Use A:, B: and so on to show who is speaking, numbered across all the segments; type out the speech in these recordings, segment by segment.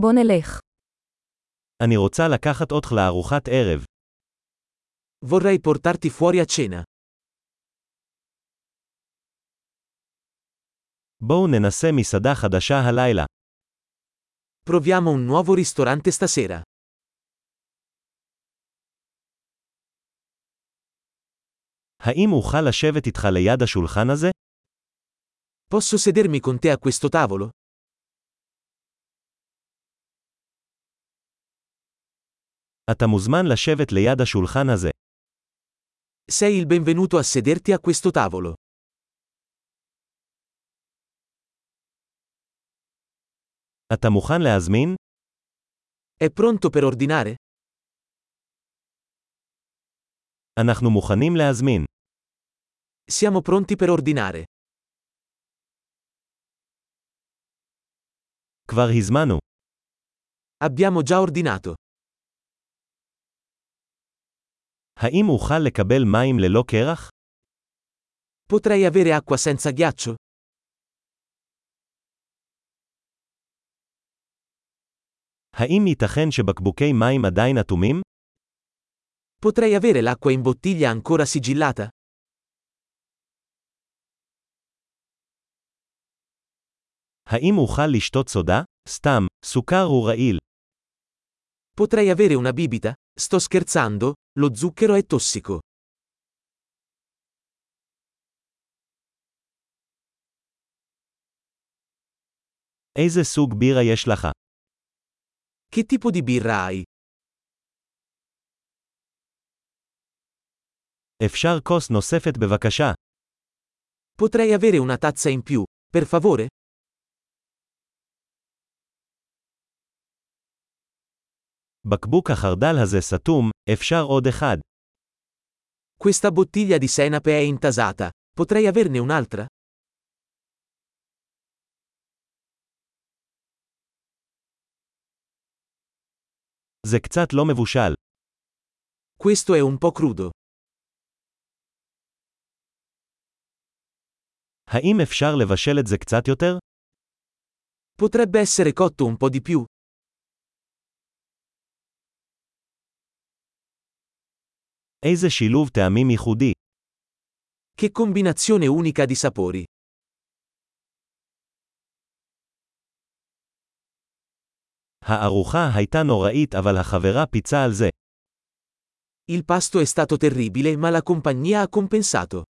A: בוא נלך.
B: אני רוצה לקחת אותך לארוחת ערב.
C: Vorrei portarti fuori a cena.
B: בואו ננסה מסעדה חדשה הלילה.
C: Proviamo un nuovo ristorante stasera.
B: האם אוכל לשבת איתך ליד השולחן הזה?
C: Posso sedermi con te a questo tavolo?
B: אתה מוזמן לשבת ליד השולחן הזה.
C: Sei il benvenuto a sederti a questo tavolo.
B: אתה מוכן להזמין?
C: È pronto per ordinare?
B: אנחנו מוכנים להזמין.
C: Siamo pronti per ordinare.
B: כבר הזמנו.
C: Abbiamo già ordinato.
B: האם אוכל לקבל מים ללא קרח?
C: Potrei avere acqua senza ghiaccio?
B: האם ייתכן שבקבוקי מים עדיין אטומים?
C: Potrei avere l'acqua in bottiglia ancora sigillata?
B: האם אוכל לשתות סודה? סתם, סוכר הוא רעיל.
C: Potrei avere una bibita? Sto scherzando, lo zucchero è tossico.
B: איזה סוג בירה יש לך?
C: Che tipo di birra hai?
B: אפשר כוס נוספת בבקשה.
C: Potrei avere una tazza in più, per favore?
B: בקבוק החרדל הזה סתום, אפשר עוד אחד.
C: Questa bottiglia di senape è intasata. Potrei averne un'altra?
B: זה קצת לא מבושל.
C: Questo è un po' crudo.
B: האם אפשר לבשל את זה קצת יותר?
C: Potrebbe essere cotto un po' di più.
B: איזה שילוב טעמים ייחודי.
C: Che combinazione unica di sapori.
B: הארוחה הייתה נוראית אבל החברה פיצה על זה.
C: Il pasto è stato terribile ma la compagnia ha compensato.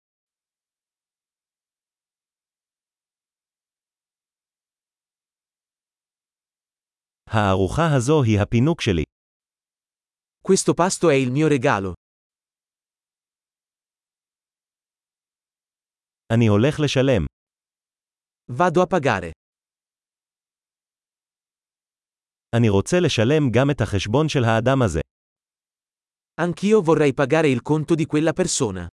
B: הארוחה הזו היא הפינוק שלי.
C: Questo pasto è il mio regalo.
B: אני הולך לשלם.
C: Vado a pagare.
B: אני רוצה לשלם גם את החשבון של האדם הזה.
C: Anch'io vorrei pagare il conto di quella persona.